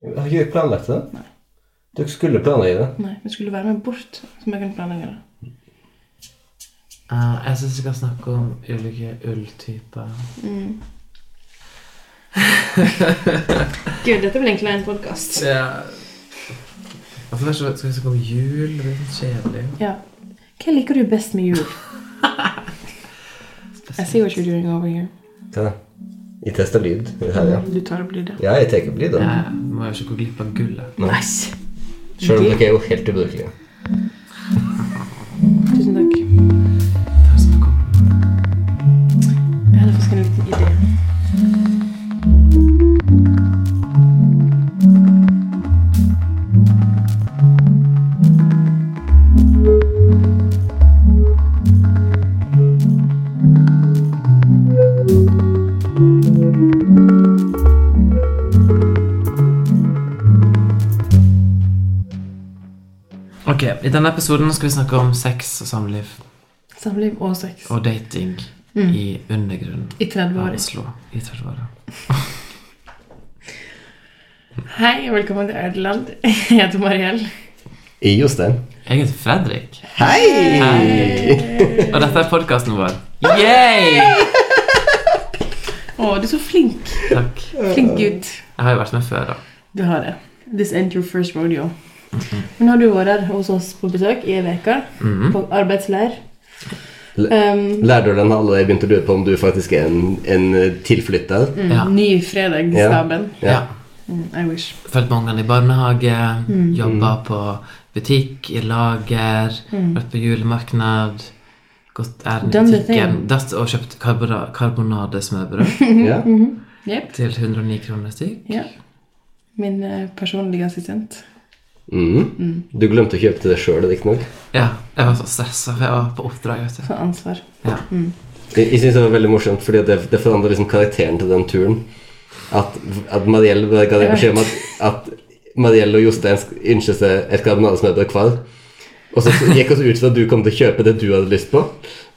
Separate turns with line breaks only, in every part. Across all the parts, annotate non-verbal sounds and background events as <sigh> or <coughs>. Har ikke dere planlagt det?
Nei.
Dere skulle planlegge det.
Nei, vi skulle være med bort, så vi kunne planlegge det.
Eh, jeg syns vi skal snakke om ulike ulltyper.
Mm. <laughs> Gud, dette blir egentlig en podkast.
Ja. Hvorfor er det så- skal vi snakke om jul? Det blir litt kjedelig.
Ja. Hva liker du best med jul? I see what you're doing over here.
Hva da? Jeg tester lyd. Her, ja.
Du tar opp lyder.
ja, jeg tar opp lyd. da.
Jeg må jo ikke gå glipp av gullet.
Nice.
Selv om dere er jo helt ubrukelige.
Tusen takk.
Det er som å komme.
Jeg hadde faktisk en liten idé.
Ok, I denne episoden skal vi snakke om sex og samliv
Samliv og sex.
og dating Mm. i undergrunnen
I 30
av
år.
Oslo. I 30 år.
Hei, og velkommen til Ødeland. <laughs> Jeg heter Mariell.
I Jostein.
Jeg heter Fredrik,
Hei!
og dette er podkasten vår. Yay!
Å, du er så flink.
Takk.
Flink gutt.
Jeg har jo vært med før, da.
Du har det. This ain't your first rodeo. Men har du vært her hos oss på besøk i ei uke?
Mhm.
På arbeidsleir?
Le-
Um,
Lærte du den alle jeg begynte å lure på om du faktisk er en, en tilflytter?
Ja.
Ny fredagsstaben.
Ja.
Mm, I wish.
Fulgt med ungene i barnehage, jobba på butikk, i lager,
Mm.
vært på julemarked. Gått ærend i
Done the
butikken
thing.
Datt og kjøpt karbona- karbonadesmørbrød
<laughs> Ja.
Yep.
til 109 kroner stykk.
Ja. Min eh, personlige assistent.
Mm. Du glemte å kjøpe til deg sjøl, riktignok.
Ja, jeg var så stressa, for jeg var på oppdrag. vet du.
For ansvar.
Ja.
Jeg, jeg synes det var veldig morsomt, fordi det, det forandrer liksom karakteren til den turen. At, at Mariell bare ga deg beskjed om at, at Mariell og Jostein sk- ønsker seg et karbonadesmørbrød hver. Og så gikk vi ut fra at du kom til å kjøpe det du hadde lyst på.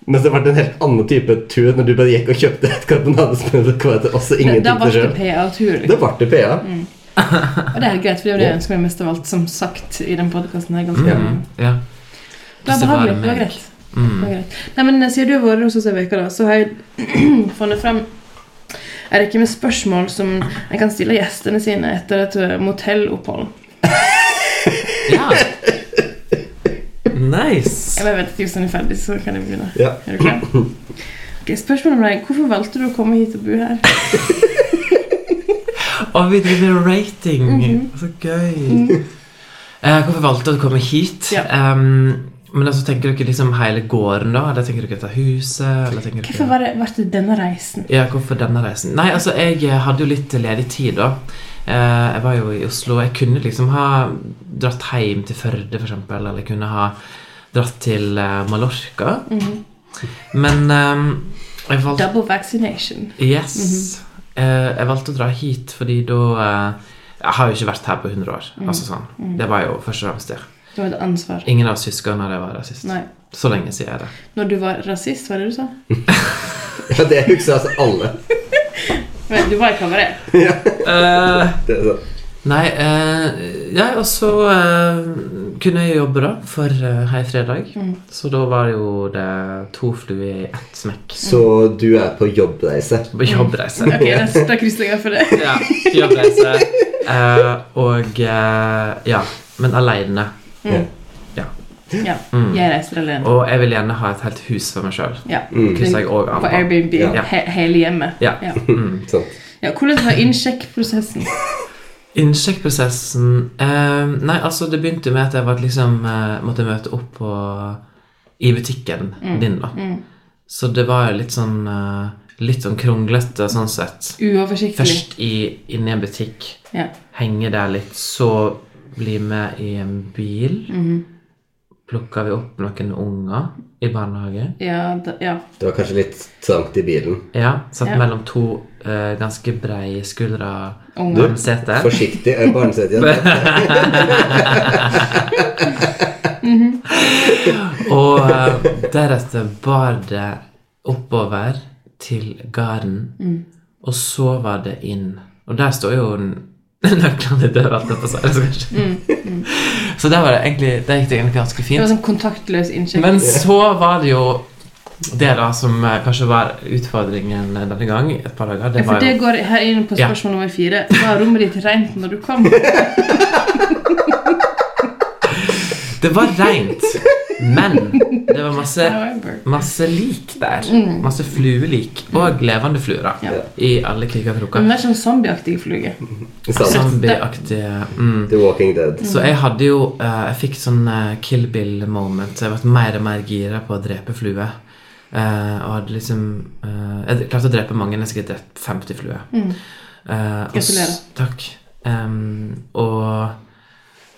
Mens det ble en helt annen type tur når du bare gikk og kjøpte et karbonadesmørbrød hver til oss og
Da da
ingenting
ble
til
det
sjøl.
Mm. PA-tur.
Da ble det PA.
liksom. Og det er helt greit, for det er jo det jeg ønsker meg mest av alt, som sagt i den podkasten. Det
Mm, ja. mm.
var
Hvis
behagelig.
det bare
Det var
meg.
greit. Det var greit. Nei, men eh, Siden du har vært hos oss ei uke, da, så har jeg <clears throat> funnet fram en rekke med spørsmål som en kan stille gjestene sine etter et eh, motellopphold.
ja. Nice.
Jeg bare vet at Jostein er ferdig, så kan jeg begynne.
Ja.
Er du klar? Ok, spørsmål om deg. Hvorfor valgte du å komme hit og bo her?
Og vi driver med rating.
Mhm.
Så gøy. Eh, hvorfor valgte dere å komme hit?
Ja.
Em, men altså, tenker dere liksom hele gården, da? Eller tenker dere dette huset? Eller tenker
Hvorfor
dere...
var det, ble det denne reisen?
Ja, hvorfor denne reisen? Nei, altså, jeg eh, hadde jo litt ledig tid, da. Eh, jeg var jo i Oslo. Jeg kunne liksom ha dratt hjem til Førde, for eksempel. Eller jeg kunne ha dratt til eh, Mallorca.
Mhm.
Men em, jeg valgte
Double vaccination.
Yes. Eh, jeg valgte å dra hit fordi da eh, Jeg har jo ikke vært her på 100 år. Altså sånn. Det var jo først og fremst det.
Det var et ansvar.
Ingen av søsknene der var der sist.
Nei.
Så lenge siden er det.
Når du var rasist, var det du sa?
ja, det husker altså alle.
Men du var i kabaret.
Eh,
Det er sånn.
nei, eh, ja, og så eh, kunne jeg jobbe, da, for eh, Hei Fredag. Så da var jo det to fluer i ett smekk.
Så du er på jobbreise.
På
<laughs>
jobbreise.
Ok, da- Da krysser jeg av for det.
Ja, jobbreise. Eh, og eh, Ja. Men aleine.
Ja,
Mm.
Jeg reiser alene.
Og jeg vil gjerne ha et helt hus for meg sjøl.
Ja.
Krysser Mm, jeg også av.
På Airbnb.
Ja.
He hele hjemmet.
Ja.
Ja.
Sånn.
Ja, hvordan var innsjekkprosessen?
Innsjekkprosessen eh, Nei, altså, det begynte med at jeg var, liksom, eh, måtte møte opp på, i butikken
Mm.
din, da. Så det var jo litt sånn eh, Litt sånn kronglete, sånn sett.
Uoversiktlig.
Først i, inne i en butikk,
Ja.
henge der litt, så bli med i en bil.
Mhm.
Plukka vi opp noen unger i barnehage.
Ja, da, ja.
Det var kanskje litt trangt i bilen.
Ja, Satt
Ja.
mellom to eh, ganske breie skuldre.
Unger.
med sete.
Forsiktig. Jeg barnesetter igjen.
Og eh, deretter bar det oppover
Mm.
til garden. Og så var det inn. Og der står jo en <laughs> Nøklene dør, alt jeg på seg. Så, kanskje. så der var det egentlig, der gikk det egentlig ganske
Mm, Det
fint.
var sånn kontaktløs innsjekk.
Men så var det jo det da som eh, kanskje var utfordringen denne gang. Et par dager.
Ja,
Det
for
var
det
jo
går her inn på
Ja.
spørsmål nummer fire. Var rommet ditt rent når du
<laughs>
kom?
Det var rent, men det var masse
However.
Masse lik der. Masse fluelik. Og levende fluer. da,
Mm. Ja.
I alle kriker og
Men
kroker.
det er sånn zombieaktig fluge.
Sånn,
Zombieaktige mm.
The Walking Dead.
Så jeg hadde jo eh, Jeg fikk sånn eh, Kill Bill-moment. så Jeg ble mer og mer gira på å drepe fluer. Eh, og hadde liksom eh, Jeg klarte å drepe mange. Jeg har sikkert drept 50 fluer. Eh, og s-
Gratulerer.
Takk. Em, og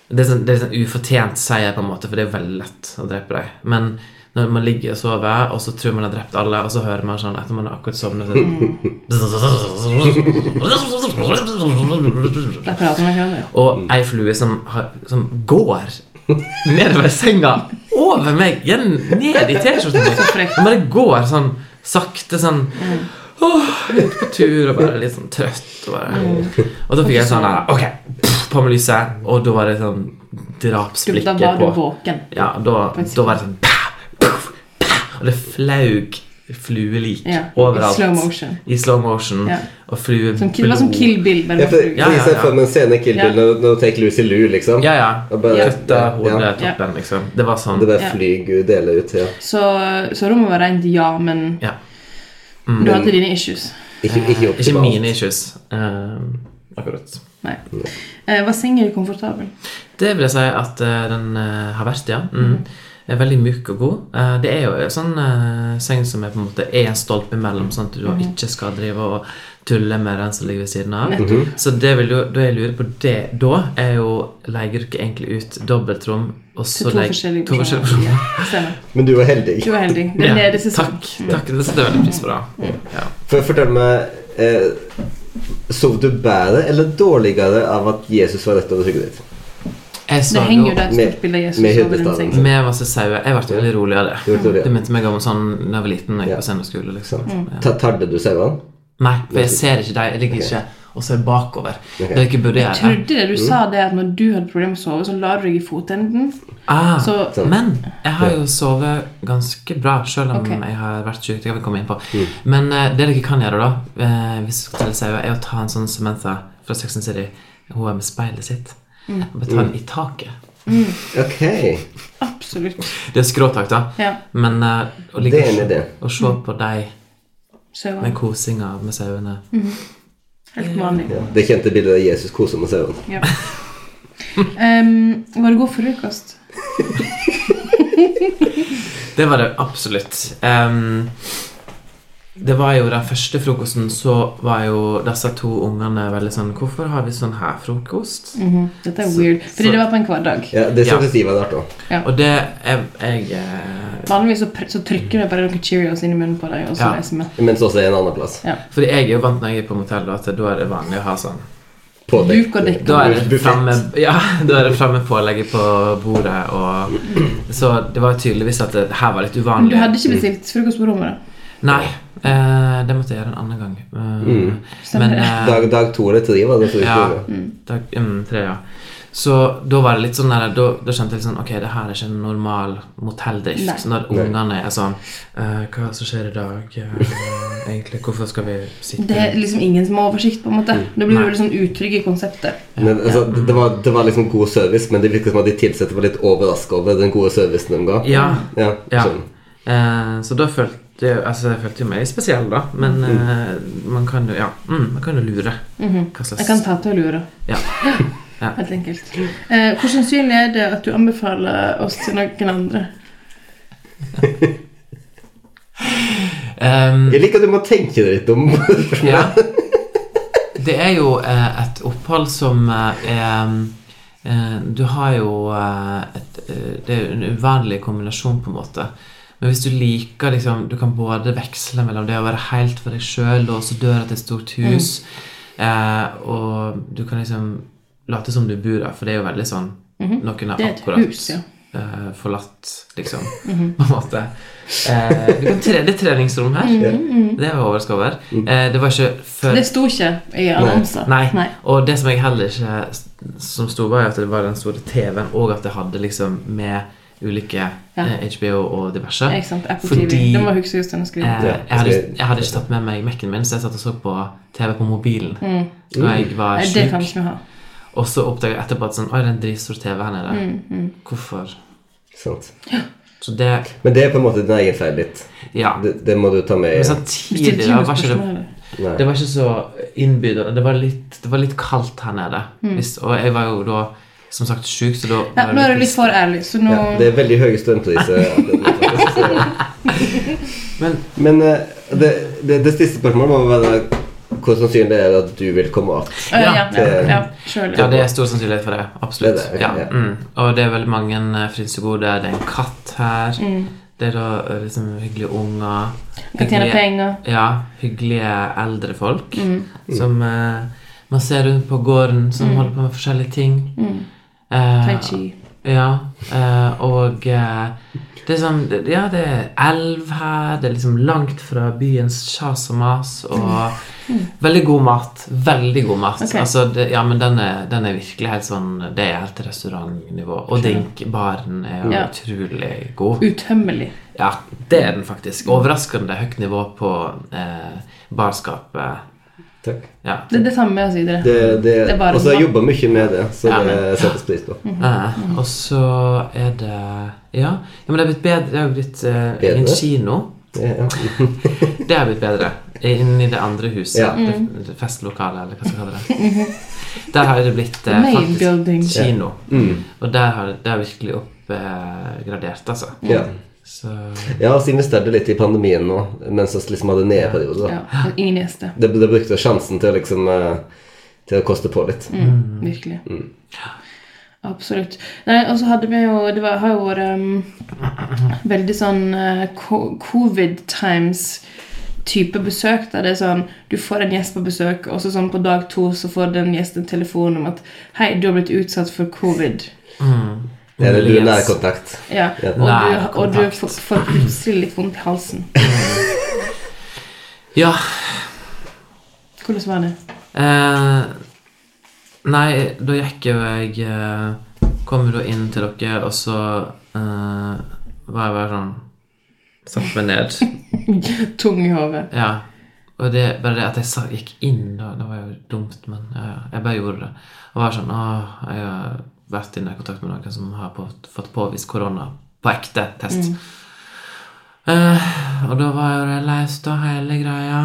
det er, sånn, det er sånn ufortjent seier, på en måte, for det er veldig lett å drepe dem. Men når man ligger og sover, og så tror man har drept alle, og så hører man sånn etter man har akkurat sovnet sånn.
Der prater man ikke om det.
Og ei flue som, har, som går nedover senga, over meg, igjen, ned i T-skjorten min.
Så frekt.
Den bare går sånn sakte sånn åh, ut på tur og bare litt sånn trøtt. Og, bare. og da fikk jeg sånn der, Ok, pff, på med lyset. Og da var det sånn
Du, da
drapsblikket
var du
på.
våken.
Ja, da, da var det sånn pow, pow, pow, Og det flaug fluelik
Ja. I
overalt.
slow motion.
I slow motion.
Ja.
Og flue
Som, det var som Kill Bill, bare
Ja,
med
for,
fluge.
for jeg ser
ja.
for meg en scene i Kill Bill
Ja.
når, når du tar Lucy Lou, liksom.
Ja, ja.
Og bare,
Ja.
Kutta hodet,
Ja.
toppen, liksom. Det var sånn.
Det
Ja.
bare flyr og deler ut. Ja.
Så, så rommet var rent, ja, men
Ja. Mm.
du hadde dine issues.
Ikke, ikke optimalt.
Ikke mine issues. eh, akkurat.
Nei. Eh, var sengen komfortabel?
Det vil jeg si at eh, den eh, har vært, ja. Mm. Er veldig myk og god. Eh, det er jo en sånn eh, seng som er på en måte er en stolpe imellom, sånn at du
Mhm.
ikke skal drive og tulle med den som ligger ved siden av. Så det vil jo, da jeg lurer på det da, er jo leier dere egentlig ut dobbeltrom og
Til
så
to
legger-
forskjellige
to
personer.
forskjellige personer.
Ja, stemmer.
Men du var heldig.
Du var heldig. Det er sånn.
Ja,
nede i sesong.
takk. takk, Det setter jeg veldig pris på. da ja.
For fortell meg eh, Sov du bedre eller dårligere av at Jesus var rett over hodet ditt?
Jeg
Det
så
henger jo
jo
der et
Med-
stort bilde av Jesus
med
over den
hyllestaven.
sengen.
med masse sauer. Jeg ble veldig rolig av det.
Sånn. Du vet
Det
det,
minte meg om sånn da jeg var liten. Når jeg
Ja.
gikk på senderskole, liksom.
sant? Ta, tarde du sauene?
Nei, for jeg ser ikke deg. Jeg ligger ikke og ser bakover. Det er ikke burde
Jeg
gjøre.
trodde
Mm.
det du sa, det at når du hadde problemer med å sove, så la du deg i fotenden.
Ah,
Så-
Sånn.
Men jeg har jo sovet ganske bra, selv om
Ok.
jeg har vært syk. Det kan vi komme inn på.
Mm.
Men eh, det dere kan gjøre, da, eh, hvis dere skal sauer, er å ta en sånn Samantha fra Sex and City. Hun er med speilet sitt.
Mm.
Og bare ta
Mm.
den i taket.
Ok.
Absolutt.
Det er skråtak, da.
Ja.
Men eh, å ligge
Det er en
og-
idé.
og se
Mm.
på deg
Søvann.
den kosinga med sauene
Helt vanlig.
Ja. Det kjente bildet av Jesus koser med sauene.
Ja. Em, var det god frokost?
Det var det absolutt. Ehm, det var jo den første frokosten, så var jo disse to ungene veldig sånn Hvorfor har vi sånn her frokost?
Mhm. Dette er
Så-
weird. Fordi
så-
det var på en hverdag.
Ja, det
Ja.
syns Steve hadde vært òg.
Og det er jeg eh,
Vanligvis så, pr- så trykker du bare noen Cheerios inn i munnen på deg, og så
Ja.
reiser vi.
Mens også er en annen plass.
Fordi jeg er jo vant når jeg er på motell, da, at da er det vanlig å ha sånn.
På dekk.
Duk og dekk.
Da er det
Buffett.
fremme, ja, <laughs> da er det fremme pålegget på bordet og Så det var tydeligvis at det her var litt
Men du
uvanlig.
hadde ikke bestilt frokost på rommet, da?
Nei. Eh, det måtte jeg gjøre en annen gang. Eh,
Mm.
Stemmer det.
eh,
Dag, dag to eller tre var det. Så
Ja.
ja.
Takk, mm, tre, ja. Så da var det litt sånn der, da, da kjente jeg litt sånn Ok, det her er ikke en normal motelldrift.
Nei.
Så Når ungene er sånn eh, Hva som skjer i dag? eh, egentlig, hvorfor skal vi sitte
Det er liksom ingen som har oversikt, på en måte. Da blir
Mm.
du
Nei.
veldig sånn utrygg i konseptet.
Men, altså, det, var, det var liksom god service, men det virket som at de tilsatte var litt overraska over den gode servicen de ga.
Ja.
Ja,
Ja.
sånn.
Eh, så da følte jeg Altså, jeg følte jo meg spesiell, da. Men
Mm.
eh, man kan jo Ja, mm, man kan jo lure. Hva
Mhm. Jeg kan
slags
ta til å lure.
Ja. <laughs> Ja.
Helt enkelt. Eh, hvor sannsynlig er det at du anbefaler oss til noen andre?
Ehm,
Jeg liker at du må tenke deg litt om. <laughs>
Ja.
<laughs>
Det er jo eh, et opphold som eh, er eh, Du har jo eh, et, eh, Det er jo en uvanlig kombinasjon, på en måte. Men hvis du liker liksom, Du kan både veksle mellom det å være helt for deg sjøl, og så døra til et stort
Mm.
hus, eh, og du kan liksom late som du bor der, for det er jo veldig sånn Noen er
Mhm. Det er et
akkurat
hus, ja. Mhm.
eh, forlatt, liksom. På en måte. Eh, du kan tre, det er treningsrom her. Det var jeg overrasket over. Eh, det var ikke
Mm.
før
Det sto ikke i annonser.
Nei. Og det som jeg heller ikke som sto, var jo at det var den store TV-en, og at det hadde liksom med ulike eh, HBO og diverse.
Ikke sant? Apple
Fordi-
TV. Det må jeg huske just å skrive.
Eh,
Ja, altså
jeg, hadde, jeg hadde ikke tatt med meg Mac-en min, så jeg satt og så på TV på mobilen. Og jeg var
Mm. Nei, det kan
sjuk.
ikke vi ha.
Og så oppdaget jeg etterpå at sånn, oi, det er en dritstor TV her nede.
Mm,
Hvorfor?
Sant.
Så det
Men det er på en måte din egen feil litt.
Ja.
Det, det må du ta med.
Men
i-
samtidig da, var ikke det,
Nei.
det var ikke så innbydende. Det var litt, det var litt kaldt her nede. Hvis, og jeg var jo da som sagt sjuk, så da
Mm. Ja,
var
nå er du
det
litt for ærlig, så nå
Ja, det er veldig høye
<laughs>
strømpriser. akkurat nå, faktisk.
Men
Men eh, det, det, det siste spørsmålet må være hvor sannsynlig er det at du vil komme opp?
Å, ja,
Ja.
ja,
Det-
ja, selv,
Ja,
ja.
det er stor sannsynlighet for det. Absolutt.
Det er det, ok,
ja.
ja.
Mm. Og det er veldig mange eh, frynsegoder. Det er en katt her. Det er da eh, liksom hyggelige unger.
Mm. Kan tjene penger. Mm.
Ja, hyggelige eldre folk som eh, man ser rundt på gården, som holder på med forskjellige ting. Eh,
Mm. Tai chi.
ja, eh, og eh, det er sånn Ja, det er elv her, det er liksom langt fra byens kjas og mas, og
<laughs>
veldig god mat. Veldig god mat.
Ok.
Altså, det, ja, men den er, den er virkelig helt sånn Det er helt restaurantnivå. Og drinkbaren er jo
Ja.
utrolig god.
Utømmelig.
Ja, det er den faktisk. Overraskende høyt nivå på eh, barskapet.
Takk.
Ja.
Det er det samme med oss videre.
Det, det,
Det er bare
og så har jeg
bra.
jobba mye med det, så
Ja, men-
det settes pris på.
Mhm.
Eh, og så er det Ja, ja men det har blitt bedre. Det har jo blitt eh, egen
Bedre?
kino.
Ja, <laughs> ja.
Det har blitt bedre. Inni det andre huset.
Ja.
Det,
Mm.
det festlokalet, eller hva skal vi kalle det. Der har det blitt eh,
Mhm. Main building.
faktisk kino.
Mm.
Og der har det, det har virkelig oppgradert, altså.
ja.
Så
ja og så investerte jeg litt i pandemien nå, mens vi liksom hadde nedeperiode. da.
Ja, men ingen gjester.
Det, det brukte jeg sjansen til å liksom eh, Til å koste på litt.
Mm, virkelig. Absolutt. Nei, og så hadde vi jo Det var, har jo vært um, veldig sånn eh, co- covid times type besøk, der det er sånn Du får en gjest på besøk, og så sånn på dag to så får den gjesten en telefon om at Hei, du har blitt utsatt for covid.
Er det du
Muligens.
nærkontakt?
Ja,
Ja.
og du, og du
Nærkontakt.
får får plutselig litt vondt i halsen.
Ja.
Hvordan var det?
Eh, nei, da gikk jo jeg eh, Kom jo da inn til dere, og så eh, var jeg bare sånn Satt meg ned.
Tung i hodet.
Ja. Og det, bare det at jeg sa, gikk inn da, det var jo dumt, men ja, ja, jeg bare gjorde det. Og var sånn Åh, jeg har vært i nær kontakt med noen som har på, fått påvist korona på ekte test.
Mm.
Eh, og da var jo det løst, og hele greia.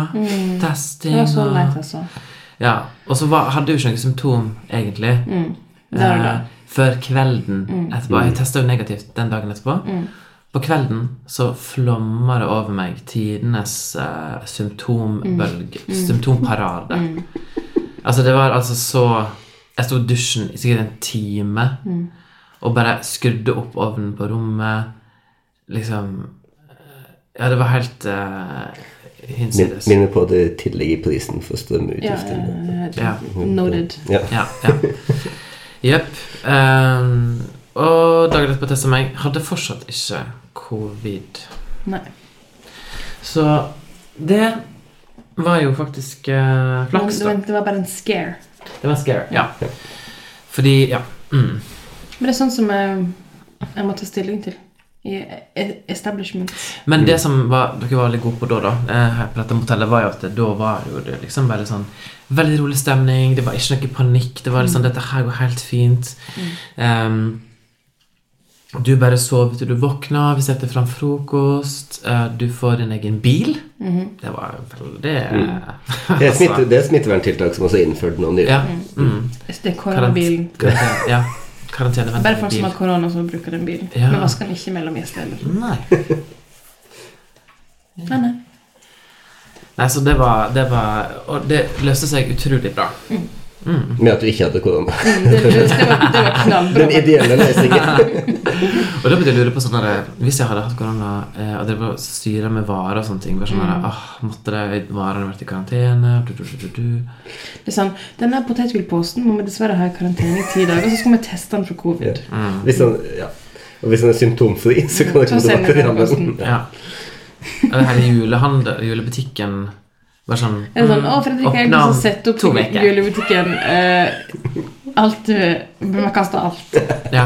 Testing
Mm. Det var så
og-
leit, altså.
Ja. Og så var, hadde jeg jo ikke noe symptom, egentlig.
Der og da.
Eh, før kvelden etterpå. Jeg testa jo negativt den dagen etterpå. På kvelden så flomma det over meg tidenes eh, symptombølge. Symptomparade. Altså, det var altså så Jeg sto i dusjen i sikkert en time og bare skrudde opp ovnen på rommet. Liksom Ja, det var helt eh,
Min,
hinsides.
minner på det tillegget i prisen for
Ja,
strømutgiftene.
ja, ja. Noted.
Ja.
Ja, ja. Jepp. Ehm, og dagen etterpå testa meg. Hadde fortsatt ikke covid.
Nei.
Så det var jo faktisk eh, flaks, da.
Men det var bare en scare.
Det var scary. Ja. Fordi Ja. Mm.
Men det er sånn som jeg, jeg må ta stilling til i e- establishment.
Mm.
Men det som var, dere var veldig gode på da, da eh, her på dette motellet, var jo at det, da var jo det liksom bare sånn Veldig rolig stemning, det var ikke noe panikk. Det var liksom
Mm.
'Dette her går helt fint'. Ehm, du bare sover til du våkner, vi setter fram frokost, eh, du får din egen bil.
Mm-hmm.
Det var veldig
Mm. Det er,
altså,
smitte, det er smitteverntiltak som også er innført nå nylig.
Ja. Mm,
Hvis Det er koronabilen.
karantene, ja. Karantene, vent,
Bare folk
bil.
som har korona, som bruker den bilen.
Ja.
Men vasker den ikke mellom gjester heller.
Nei.
Nei, nei.
Nei, så det var, det var Og det løste seg utrolig bra.
Med at du ikke hadde korona. <laughs>
Mm, Det, det, det, var, det var knallbra.
Den ideelle løsningen.
Og da begynte jeg å lure på sånn der, Hvis jeg hadde hatt korona eh, og drev og styra med varer og sånne ting bare sånn der,
Mm.
ah, Måtte de varene vært i karantene? Du, du, du, du, du.
Det er sånn, Denne potetgullposten må vi dessverre ha i karantene i ti dager, og så skal vi teste den for covid.
Litt sånn, ja. Og hvis den er symptomfri, så kan dere
Ta
komme tilbake til
seminar-posten.
rammen.
Ja. Eller hele julehandel, julebutikken Bare sånn
Er det sånn, å Fredrik, jeg har
Åpna
lyst til å sette
to
opp i
veker.
julebutikken eh, Alt eh, Man kaster alt.
Ja.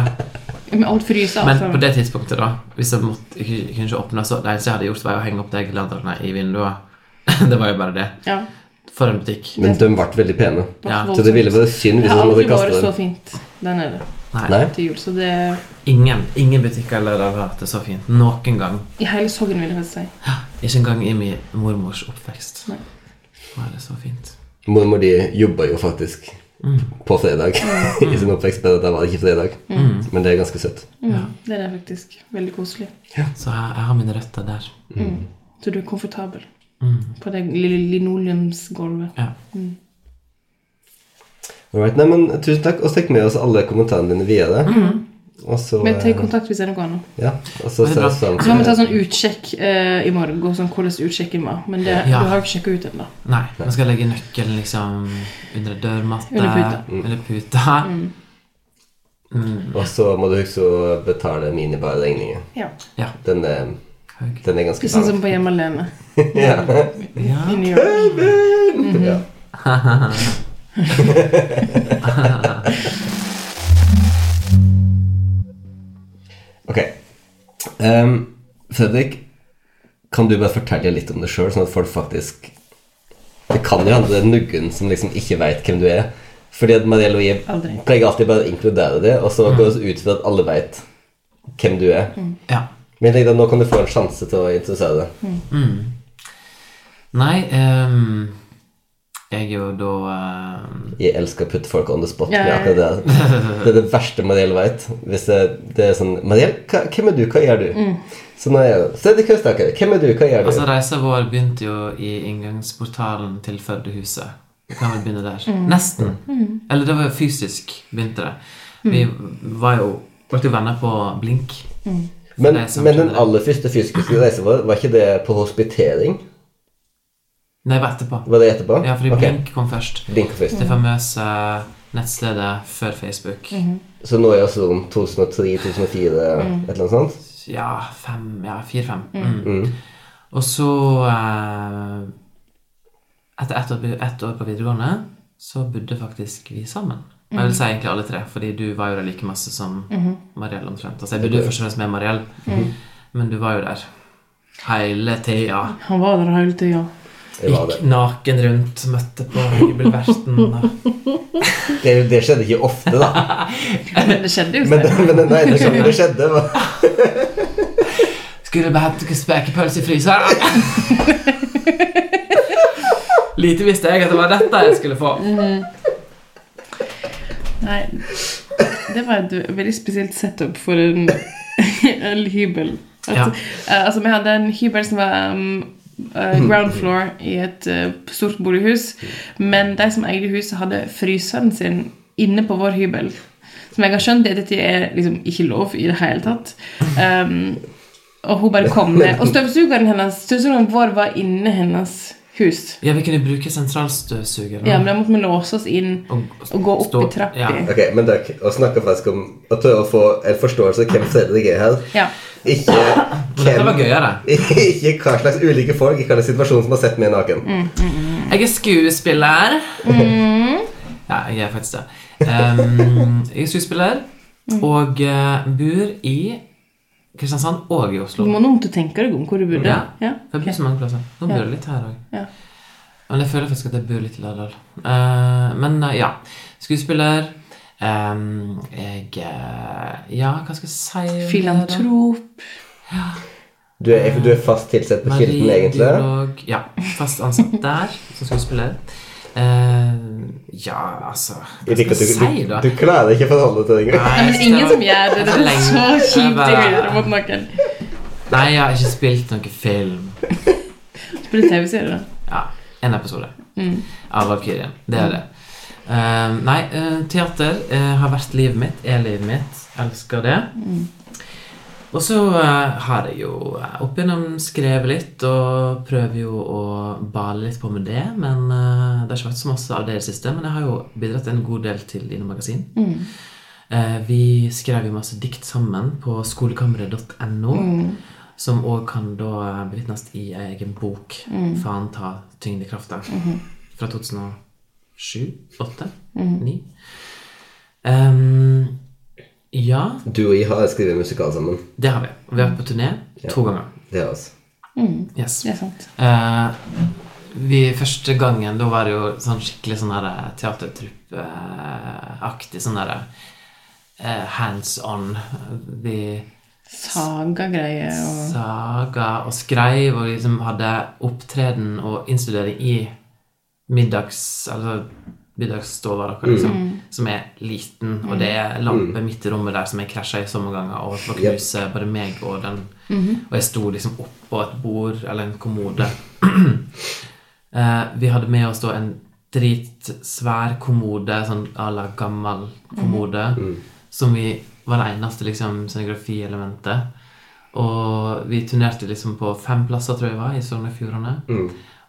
Men alt fryser. altså. alt
Men på
sammen.
det tidspunktet, da Hvis jeg, måtte, jeg kunne- kunne ikke åpne, så det eneste jeg hadde gjort, var å henge opp de gladerne i vinduet. <laughs> det var jo bare det.
Ja,
For en butikk.
Men de ble veldig pene.
bare
Ja.
Så det ville være synd
Det
hvis
har
man
aldri
hadde
vært
kastet dem.
så fint der nede
Nei.
Nei.
til jul, så det
Ingen ingen butikker eller der har vært det så fint noen gang.
I hele Sogn, vil jeg helst si.
Ikke engang i min mormors oppvekst.
Nei.
Var det så fint.
Mormor di jobba jo faktisk
Mm.
på fredag <laughs> i sin oppvekst, bare at det var ikke fredag. Men det er ganske søtt.
Mm, Det er det faktisk. Veldig koselig.
Så jeg, jeg har mine røtter der.
Så du er komfortabel
Mm.
på det lille linoleumsgulvet.
Ja.
Alright, nei, men Tusen takk, og stikk med oss alle kommentarene dine videre. Og så
Men ta
eh,
kontakt hvis det er noe annet.
Ja, og så
Mm. Det
ser
er bra.
vi fram
Så kan vi ta
til
sånn utsjekk eh, i morgen, sånn hvordan utsjekken var. Men det,
Ja.
du har jo ikke sjekka ut ennå.
Nei, man skal legge nøkkelen liksom under dørmatte.
Under puta. Mm.
Under puta. Mm.
Og så må du huske å betale minibar-regninger.
Ja.
Ja.
Den, er-
Haug.
den er ganske
Sånn som
lang.
på Hjemme alene.
<laughs> Ja.
Ja.
I New York.
ja. <laughs> Ok. Ehm, Fredrik, kan du bare fortelle litt om deg sjøl, sånn at folk faktisk Det kan jo hende det er noen som liksom ikke veit hvem du er. Fordi at Marielle og jeg
Aldri.
pleier alltid bare å inkludere det, og så går vi ut fra at alle veit hvem du er.
ja.
Men jeg tenker at nå kan du få en sjanse til å introdusere deg.
Nei, ehm, jeg er jo da ehm,
Jeg elsker å putte folk on the spot
Ja,
med
ja, ja.
akkurat det. her. Det er det verste Marielle veit. Hvis det, det er sånn Marielle, hva- hvem er du? Hva gjør du?
Mm.
Så nå er jeg Fredrik Høstaker, hvem er du? Hva gjør du?
Altså, reisa vår begynte jo i inngangsportalen til Førdehuset. Vi kan vel begynne der. Nesten. Eller det var jo fysisk begynte det. Vi var jo Ble jo venner på Blink.
men,
Nei, samtidig.
men den aller første fysiske reisen vår, var ikke det på hospitering?
Nei, det var etterpå.
Var det etterpå?
Ja, fordi
Ok,
Blink kom først.
Blink først.
Det famøse nettstedet før Facebook.
Så nå er jeg altså rundt 2003-2004,
Mm.
et eller annet sånt?
Ja, fem, ja, fire-fem. Mm. Og så eh, Etter ett år, ett år på videregående så bodde faktisk vi sammen. Og Jeg vil si egentlig alle tre, fordi du var jo der like masse som Mariell omtrent. Altså, jeg bodde jo først og fremst med Mariell, men du var jo der hele tida.
Han var der hele tida.
Det, var det.
Gikk naken rundt, møtte på hybelverten og
Det, det skjedde ikke ofte,
<laughs>
da.
Men <laughs> det skjedde jo
Men,
ikke.
men nei, det skjedde, det skjedde var
Skulle bare hente noen spekepølser i fryseren. Lite visste jeg at det var dette jeg skulle få.
Mhm. Nei. Det var et veldig spesielt setup for en, <laughs> en hybel. At,
Ja.
eh, altså, vi hadde en hybel som var um, eh, ground floor i et eh, stort bolighus. Men de som eide huset, hadde fryseren sin inne på vår hybel. Som jeg har skjønt i ettertid er liksom ikke lov i det hele tatt. Um, og hun bare kom ned. Og støvsugeren hennes, støvsugeren vår var inne i hennes hus.
Ja, vi kunne bruke sentralstøvsugeren.
Ja, men da måtte vi låse oss inn.
og,
Å gå opp
stå-
i trappa.
Ja.
Ok, men dere, å snakke faktisk om Å prøve å få en forståelse av hvem Fredrik er her.
Ja.
<laughs>
Ikke
Men dette var gøyere.
<laughs> Ikke hva slags ulike folk i hva slags situasjon som har sett meg naken.
Jeg er skuespiller.
Mm.
Ja, jeg er faktisk det. Ehm, jeg er skuespiller
Mm.
og eh, bor i Kristiansand og i Oslo.
Du må noen til å tenke deg om hvor du bodde.
Ja.
Ja.
For jeg bor så mange plasser. Nå bor jeg litt her òg.
Ja.
Men jeg føler faktisk at jeg bor litt i Lærdal. Eh, men eh, ja. Skuespiller. Ehm, jeg eh, Ja, hva skal jeg si? om det da?
Filantrop.
Du er, du er fast tilsett på Kilden, egentlig.
Marinebiolog Ja, fast ansatt der som skuespiller. Eh, ja, altså Hva
Jeg liker at
skal jeg
du,
si, da?
du, du klarer ikke å forholde deg til det engang.
Nei,
Nei, men det er ingen som gjør det. Det er
lenge.
så kjipt å
Jeg bare-
gjøre mot noen.
Nei, jeg har ikke spilt noen film.
Spiller TV-serie, da.
Ja, En episode av Valkyrien. Det er det. Eh, nei, eh, teater eh, har vært livet mitt. Er livet mitt. Elsker det. Og så eh, har jeg jo eh, opp igjennom skrevet litt og prøver jo å bale litt på med det. Men eh, det har ikke vært så masse av det i det siste. Men jeg har jo bidratt en god del til Ine Magasin. Eh, vi skrev jo masse dikt sammen på skolekammeret.no. Som òg kan da bevitnes i ei egen bok. Faen ta tyngdekrafta. Fra 2007? 8? 9? Ehm, ja,
<laughs> Du og jeg har skrevet musikal sammen.
det har vi. Vi har vært på turné to ganger.
Det altså. har oss.
Yes.
Det er sant.
Eh, vi, første gangen, da var det jo sånn skikkelig sånn der eh, teatertrupp-aktig sånn der eh, hands on. Vi
Saga-greier og
saga og skreiv og liksom hadde opptreden og innstudering i middags... Altså middagsstova deres, liksom, som er liten, og det er lampe midt i rommet der som jeg krasja i så mange ganger, og det knuste både meg og den Og jeg sto liksom oppå et bord eller en kommode. Eh, vi hadde med oss da en dritsvær kommode, sånn à la gammel kommode, som vi var det eneste liksom, scenografielementet. Og vi turnerte liksom på fem plasser, tror jeg var, i Sogn og Fjordane.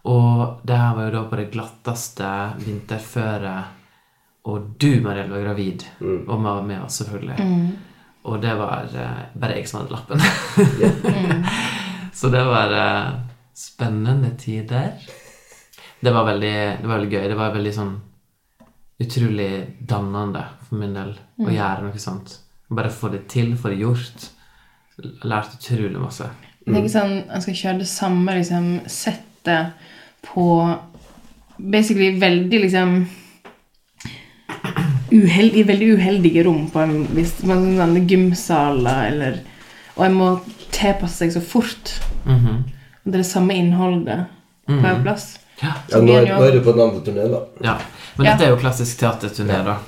Og det her var jo da på det glatteste vinterføret. Og du, Marielle, var gravid og var med oss, selvfølgelig. Og det var eh, bare jeg som hadde lappen. <laughs> Så det var eh, spennende tider. Det var, veldig, det var veldig gøy. Det var veldig sånn utrolig dannende for min del å gjøre noe sånt. Bare få det til, få det gjort. Lært utrolig masse.
Mm.
Det er ikke sånn man skal kjøre det samme liksom, settet på basically veldig liksom uheldig, veldig uheldige rom på en viss man kan sånn gymsaler eller Og en må tilpasse seg så fort.
Mhm.
Og det er det samme innholdet på en
Mm.
plass.
Ja.
Ja,
Så
nå,
blir
er,
det
nå er
jo
du på den andre turneen, da.
Ja. Men
Ja.
dette er jo klassisk teaterturné, da.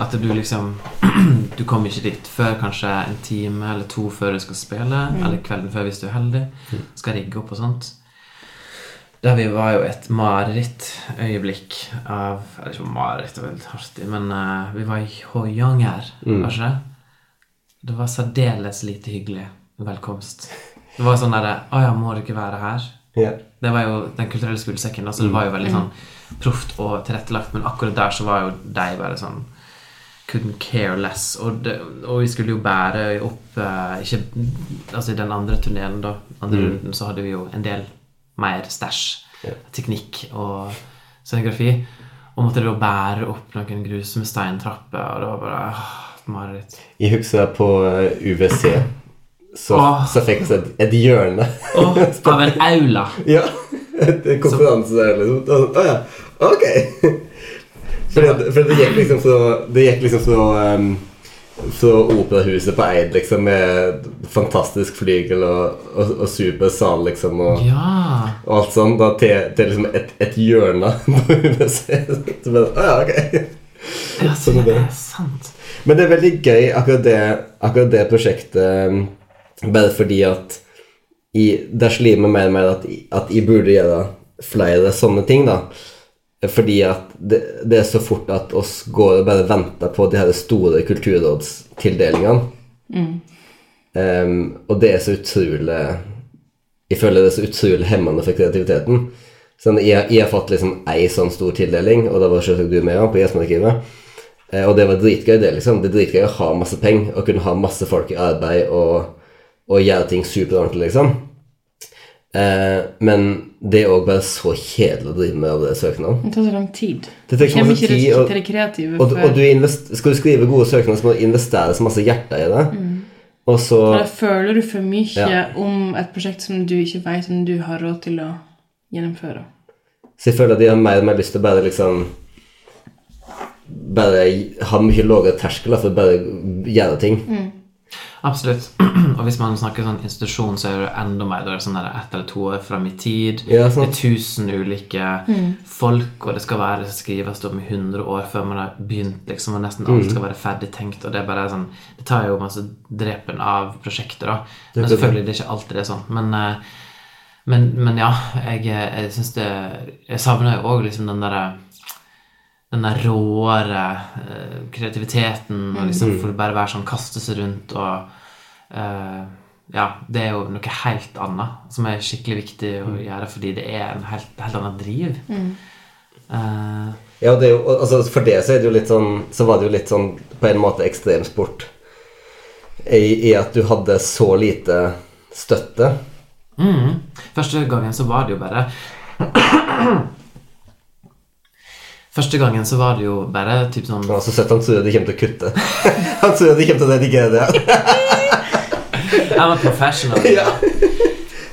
At du liksom <clears throat> Du kommer ikke dit før kanskje en time eller to før du skal spille, eller kvelden før hvis du er heldig. Skal rigge opp og sånt. Der vi var jo et marerittøyeblikk av Eller ikke mareritt, det var litt artig, men eh, vi var i Hoi Yang her, var ikke det? Det var særdeles lite hyggelig velkomst. Det var sånn derre Å ja, må dere være her?
Ja.
Det var jo Den kulturelle skolesekken, da, så det var jo veldig sånn proft og tilrettelagt. Men akkurat der så var jo de bare sånn Couldn't care less. Og, det, og vi skulle jo bære opp eh, ikke, Altså i den andre turneen, da, andre runden, så hadde vi jo en del mer stæsj. Teknikk og scenografi. Og måtte da bære opp noen grusomme steintrapper, og det var bare åh, et mareritt.
Jeg husker på eh, UVC. Så,
Åh.
så fikk vi et, et hjørne.
Åh, av en aula!
ja. Et et konferanse der, liksom. Da sånn, Å ja. Ok. Fordi, at- fordi det gikk liksom fra Det gikk liksom fra ehm, fra operahuset på Eid, liksom, med fantastisk flygel og, og, og super sal, liksom, og,
Ja!
og alt sånn, da til, til liksom et, et hjørne <laughs> på UVC. Så bare, Å ja, ok.
Ja,
Sånn er det.
sant.
Men det er veldig gøy, akkurat det, akkurat det prosjektet, um, bare fordi at i, det slir meg mer og mer at, i- at jeg burde gjøre flere sånne ting, da. Fordi at det, det er så fort at oss går og bare venter på de her store kulturrådstildelingene. Um, og det er så utrolig Jeg føler det er så utrolig hemmende for kreativiteten. Sånn, jeg, har- jeg har fått liksom ei sånn stor tildeling, og da var selvsagt du med ja, på Gjesmarkivet. Eh, Og det var dritgøy, det, liksom. Det er dritgøy å ha masse penger og kunne ha masse folk i arbeid og, og gjøre ting superordentlig, liksom. Eh, men det er òg bare så kjedelig å drive med av det søknaden.
Det tar så lang tid.
Det tar ikke
Kommer
masse
ikke
tid, og-
til det kreative
Og, og
før,
du invest, skal du skrive gode søknader, så må det investeres masse hjerte i det. Og så
Da føler du for mye
Ja.
om et prosjekt som du ikke vet om du har råd til å gjennomføre.
Så jeg føler at de har mer og mer lyst til å bare liksom Bare ha mye lavere terskler for å bare gjøre ting.
Absolutt. <clears throat> Og hvis man snakker sånn institusjon, så er det enda mer. Da er det sånn der ett eller to år fram i tid.
Ja,
det er
sant.
tusen ulike folk, og det skal være det skrives om i 100 år før man har begynt, liksom, og nesten alt skal være ferdig tenkt, og det er bare sånn Det tar jo masse drepen av prosjekter, da. Men selvfølgelig, det er ikke alltid det er sånn. Men eh, men, men ja, jeg, eh, jeg syns det Jeg savner jo òg liksom den derre den der råere eh, kreativiteten og liksom for bare være sånn kaste seg rundt og eh, Ja, det er jo noe helt annet som er skikkelig viktig å gjøre fordi det er en helt, helt annen driv. Eh,
Ja, det er jo, og- altså, for det så er det jo litt sånn Så var det jo litt sånn på en måte ekstremsport i, i at du hadde så lite støtte.
Mm. Første gangen så var det jo bare <coughs> Første gangen så var det jo bare typ sånn
Men altså, søtt, han tror jo de kommer til å kutte. <laughs> han tror jo de kommer til å redigere det.
Jeg var professional.
Ja.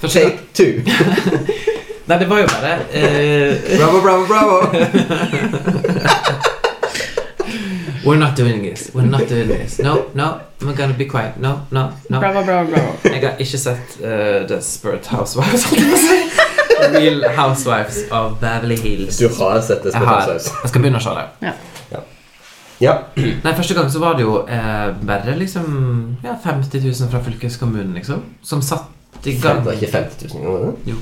Første
<laughs>
gang,
Take two.
nei, det var jo bare eh,
Bravo, bravo, bravo.
We're not doing this. We're not doing this. No, no, we're gonna be quiet. No, no, no.
Bra, bra, bra, bra.
Jeg har ikke sett eh, Desperate Housewives. <laughs> holdt jeg på å si. Real Housewives of Beverly Hills.
Du har sett det
Jeg har.
spørsmålet.
Jeg skal begynne å se det.
Ja.
Nei, Første gang så var det jo eh, bare liksom ja, 50 000 fra fylkeskommunen, liksom. Som satt i gang
Det var ikke 50 000 ganger, var det?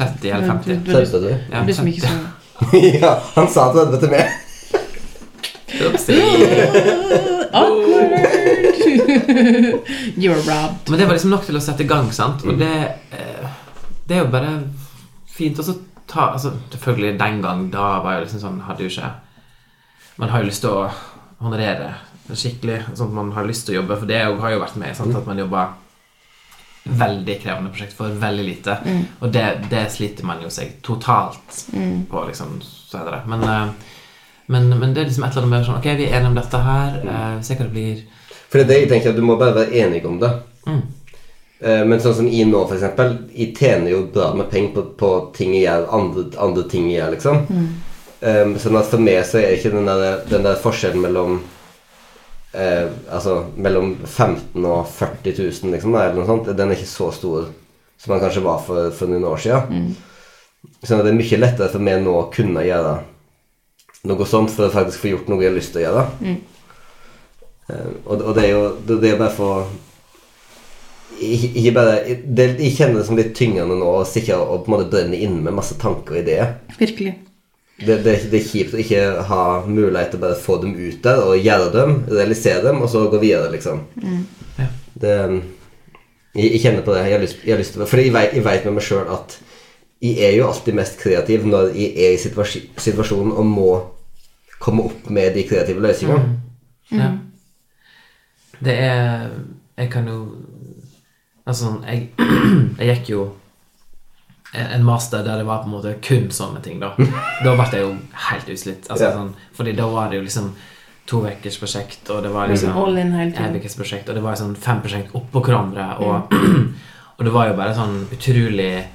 30 eller 50.
Du, du, du,
Seriøst, vet
Ja,
du som
<laughs>
ikke
30.
så
du? <laughs> ja, han sa 30 til meg.
<laughs> Awkward! <laughs> You're robbed.
Men det var liksom nok til å sette i gang, sant? Og det, eh, det er jo bare fint. Og så ta altså, Selvfølgelig, den gang da var jeg liksom sånn Hadde jo ikke Man har jo lyst til å honorere det skikkelig. Sånn at man har lyst til å jobbe, for det har jo vært med. Sant? At man jobber veldig krevende prosjekt for veldig lite. Og det, det sliter man jo seg totalt på, liksom. Så er det. Men, eh, men, men det er liksom et eller annet med sånn Ok, vi er enige om dette her. Eh, vi ser hva det blir.
For det er det jeg tenker, at du må bare være enig om det.
Mm.
Eh, Men sånn som jeg nå, for eksempel, jeg tjener jo bra med penger på, på ting jeg gjør, andre, andre ting jeg gjør, liksom. Eh, sånn at for meg så er ikke den der, den der forskjellen mellom eh, Altså mellom 15 og 40 000, liksom, eller noe sånt, den er ikke så stor som den kanskje var for, for noen år siden. Sånn at det er mye lettere for meg nå å kunne gjøre noe sånt for å faktisk få gjort noe jeg har lyst til å gjøre. Eh, og, og det er jo det, det er bare for ikke ikke bare, det, Jeg kjenner det som litt tyngende nå å sitte og på en måte brenne inne med masse tanker og ideer.
Virkelig.
Det, det, det er kjipt å ikke ha mulighet til å bare få dem ut der og gjøre dem, realisere dem, og så gå videre, liksom.
Ja.
Det, jeg, jeg kjenner på det. Jeg har lyst, jeg har lyst til Fordi jeg vet, jeg vet med meg sjøl at jeg er jo alltid mest kreativ når jeg er i situasi- situasjonen og må komme opp med de kreative løsningene.
Mm.
Mm.
Ja. Det er Jeg kan jo Altså, sånn, jeg, <clears throat> jeg gikk jo en en master der det var på en måte kun sånne ting,
<laughs>
da. Da ble jeg jo helt utslitt. Altså,
Ja.
sånn, fordi da var det jo liksom to ukers prosjekt, og det var liksom
All in hele
en
tiden.
ukes prosjekt, og det var sånn fem prosjekt oppå hverandre, og, <clears throat> og det var jo bare sånn utrolig eh,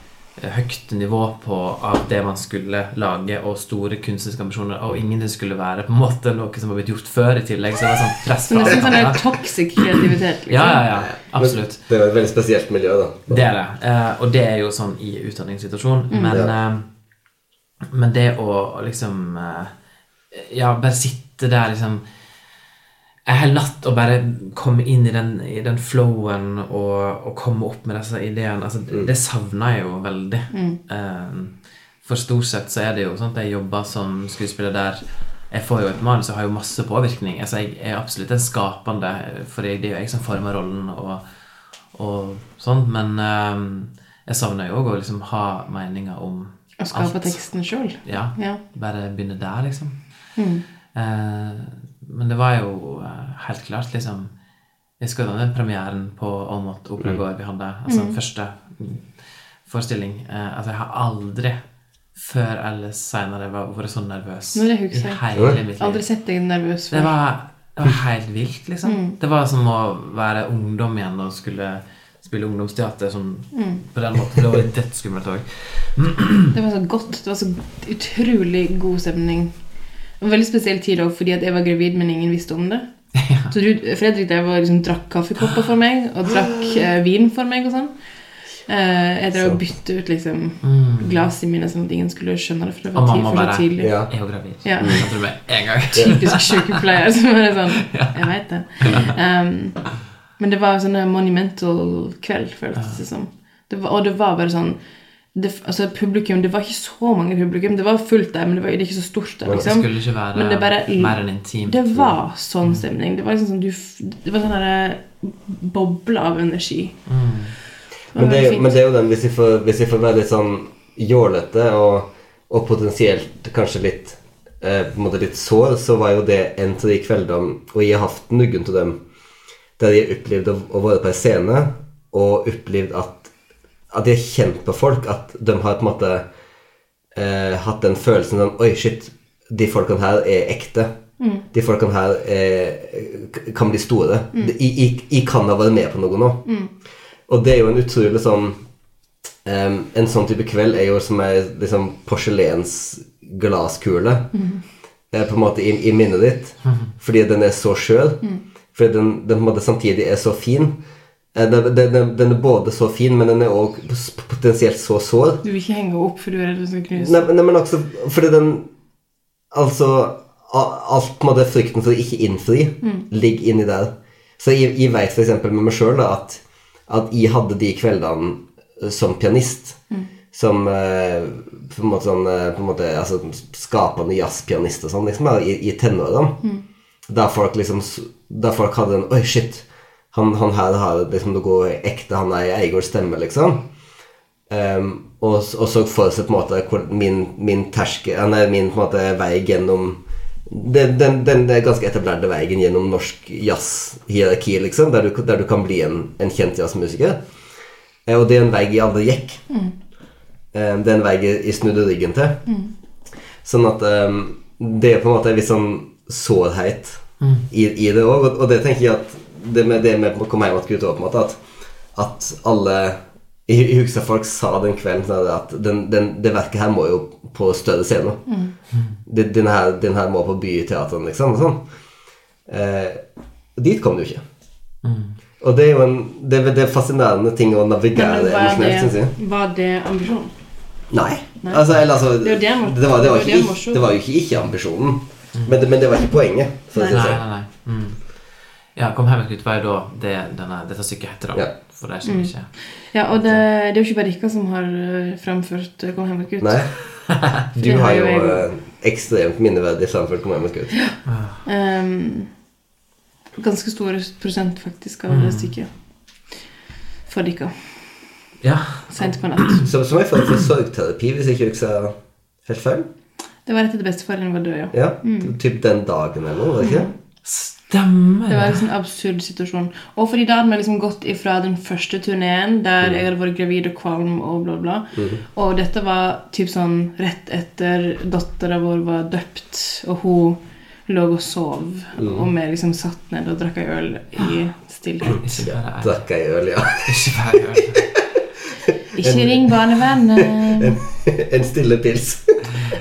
høyt nivå på av det man skulle lage, og store kunstneriske ambisjoner, og ingenting skulle være på en måte noe som var blitt gjort før i tillegg, så det var sånn press
Så
fra
nesten sånn
alle.
der toxic kreativitet.
Ja,
liksom.
ja, ja, absolutt.
Men Det er jo et veldig spesielt miljø, da.
Det er det. Eh, og det er jo sånn i utdanningssituasjonen.
Mm.
Men, eh, men det å liksom eh, Ja, bare sitte der liksom en hel natt og bare komme inn i den, i den flowen og, og komme opp med disse ideene altså, Det, det savner jeg jo veldig. Eh, for stort sett så er det jo sånn at jeg jobber som skuespiller der jeg får jo et manus og har jo masse påvirkning. Altså, jeg er absolutt en skapende, for det er jo jeg som former rollen. og og sånn, men ehm, jeg savner jo òg å liksom ha meninger om
Og skape teksten sjøl.
Ja,
Ja. Mm.
bare begynne der, liksom. Eh, men det var jo eh, helt klart, liksom Jeg husker jo den premieren på Åmot Operagård vi hadde. Altså den første mm, forestilling. Eh, altså, jeg har aldri før eller seinere vært så nervøs
Nå er det husker jeg.
i hele mitt liv.
Aldri sett deg nervøs
Det
før.
var, det var helt vilt, liksom.
Mm.
Det var som å være ungdom igjen og skulle spille ungdomsteater sånn,
Mm.
på den måten. Det var dødsskummelt òg.
Det var så godt. Det var så utrolig god stemning. En veldig spesiell tid òg, fordi at jeg var gravid, men ingen visste
<laughs>
om det. Så Rud, Fredrik der var, liksom, drakk kaffekopper for meg, og drakk
<gasps>
eh, vin for meg og sånn. Eh, jeg drev og bytte ut liksom, glass i mine, sånn at ingen skulle skjønne det. For det
Mm. Og
var tid
mamma
for
bare,
så tidlig.
Ja.
Jeg er jo gravid.
Ja. Liksom.
Jeg hadde det med en gang.
Typisk sykepleier som er sånn Jeg vet det. Ehm, men det var sånn en monumental kveld, føltes det som. Det var, og det var bare sånn det, altså publikum, det var ikke så mange publikum. Det var fullt der, men det var det er ikke så stort der.
Det
liksom.
skulle ikke være
Men det bare-
mer enn intim.
Det var sånn stemning. Det var liksom sånn du, f- Det var sånn derre boble av energi. Det var
Men det, er
veldig
jo-
fint.
men det er jo den, hvis vi får, hvis vi får være litt sånn jålete og, og potensielt kanskje litt eh, på en måte litt sår, så var jo det en av de kveldene Og jeg har hatt noen av dem der jeg opplevde å- å være på en scene og opplevde at at jeg har kjent på folk at de har på en måte eh, hatt den følelsen sånn Oi, shit, de folkene her er ekte. De folkene her eh, k- kan bli store. De- Jeg jeg- jeg kan da være med på noe nå. Og det er jo en utrolig sånn em, En sånn type kveld er jo som ei liksom, porselensglasskule. Eh, på en måte i, i minnet ditt. Fordi den er så skjør. Fordi den, den på en måte samtidig er så fin. Eh, Den, den, den, den er både så fin, men den er òg potensielt så sår.
Du vil ikke henge opp, for du er redd du skal knuse.
Nei, men- nei, men også fordi den Altså a- Alt på en måte frykten for å ikke innfri ligger inni der. Så jeg, jeg vet for eksempel med meg sjøl at, at jeg hadde de kveldene eh, som pianist som eh, på en måte sånn eh, på en måte, altså, skapende jazzpianist og sånn, liksom, her i, i tenårene. Der folk liksom s- Der folk hadde en Oi, shit! Han, han her har liksom noe ekte, han er Eigords stemme, liksom. Ehm, og, s- og så for seg på en måte hvor min, min terske, ja, nei, min på en måte vei gjennom den, den, den er ganske etablerte veien gjennom norsk jazzhierarki, liksom, der du, der du kan bli en, en kjent jazzmusiker. Eh, Og det er en vei jeg aldri gikk. Eh, Det er en vei jeg jeg snudde ryggen til.
Mm.
Sånn at ehm, det er på en måte en viss sånn sårhet i, i det òg. Og, og det tenker jeg at det med, det med å komme hjem til gutta, på en måte, at, at alle jeg, jeg husker folk sa den kvelden sånn at den, den, det verket her må jo på større scener.
Mm.
Den, den, her, den her må på byteateren, liksom. Og sånn. Eh, dit kom du ikke. Og det er jo en det, er- det er fascinerende ting å navigere
Men var
emosjonelt, syns jeg.
det, var det ambisjonen?
Nei.
Nei.
Altså, eller, altså,
er jo det han var-
det var- det var
det er jo
ikke
det han var
ikk-
så-
det var jo ikke ikke-ambisjonen. Men, det- men det var ikke poenget. For å si
Nei,
det sånn.
nei, nei. Mm. Ja, Kom hjem med Knutveig, da. Det, denne, dette stykket heter da.
Ja.
For de
Mm.
som ikke
Ja, og det, det er jo ikke bare dere som har eh, framført eh, 'Kom hjem og gutt'. <laughs>
Nei. Du
Det
har
har
jo
jo jeg.
eh, ekstremt minneverdig framført Kom hjem med skudd.
Ehm, ganske stor prosent faktisk av det stykket. For dere.
Ja.
Sent på natt.
Som, som en form for sorgterapi, hvis jeg ikke husker helt feil.
Det var rett etter bestefaren var død, ja.
Ja,
Mm.
Typ den dagen eller noe, var det ikke?
Stemmer
Det var
det!
liksom en absurd situasjon. Og fordi da hadde vi liksom gått ifra den første turneen, der jeg hadde vært gravid og kvalm og bla, bla. Og dette var typ sånn rett etter dattera vår var døpt, og hun lå og sov. Og vi liksom satt ned og drakk ei øl i stillhet.
Ikke bare jeg.
Drakk ei øl, ja. <laughs>
Ikke bare jeg.
Ikke ring barnevernet!
en stille pils.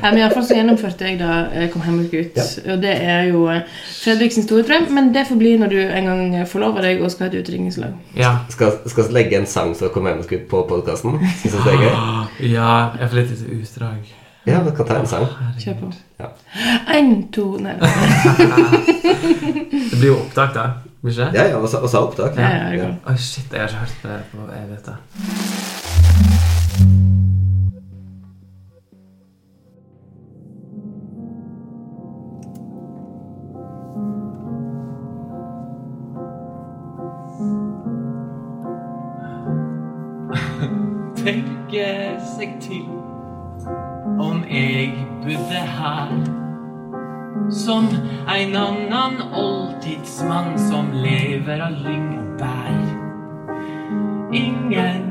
Nei, men i alle fall så gjennomførte jeg da eh, Kom hjem og gutt. Og det er jo eh, Fredriks store drøm, men det får bli når du en gang eh, forlover deg og skal ha et utringningslag.
Ja.
Skal, skal legge en sang fra Kom hjem med skudd på podkasten. Syns du det er gøy?
<gasps>
<gasps>
ja, jeg får litt litt utdrag.
Ja, vi kan ta en sang.
Kjør på.
Ja.
Én, to Nei.
Det blir jo opptak, da. Blir ikke det?
Ja, ja, og så og så har opptak.
Ja, ja, det går.
Oi, shit, jeg har ikke hørt det på evigheter.
tenke seg til om jeg bodde her. Som ein annan oldtidsmann som lever av lyngbær. Ingen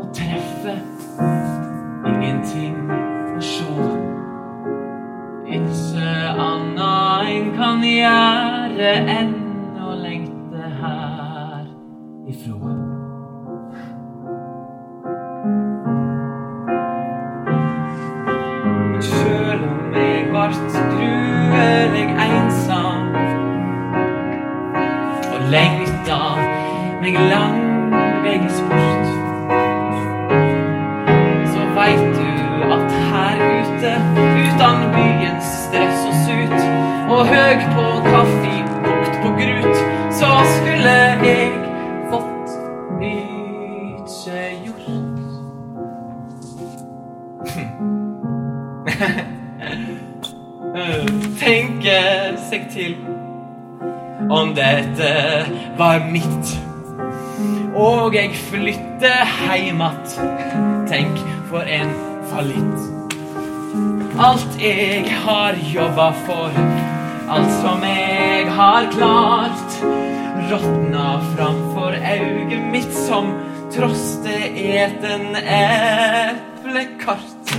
å treffe, ingenting å sjå. Ikkje anna ein kan gjere enn å lengte her ifrå. Men sjøl om jeg vart gruelig einsam og lengta meg langveis bort, så veit du at her ute, utan byens stress og sut, og høg på kaffi, kokt på grut, så skulle jeg fått mykje gjort. Eh, tenke seg til om dette var mitt. Og jeg flytter heim att. Tenk for en fallitt. Alt jeg har jobba for, alt som jeg har klart. Råtna framfor auget mitt som trosteeten eplekart.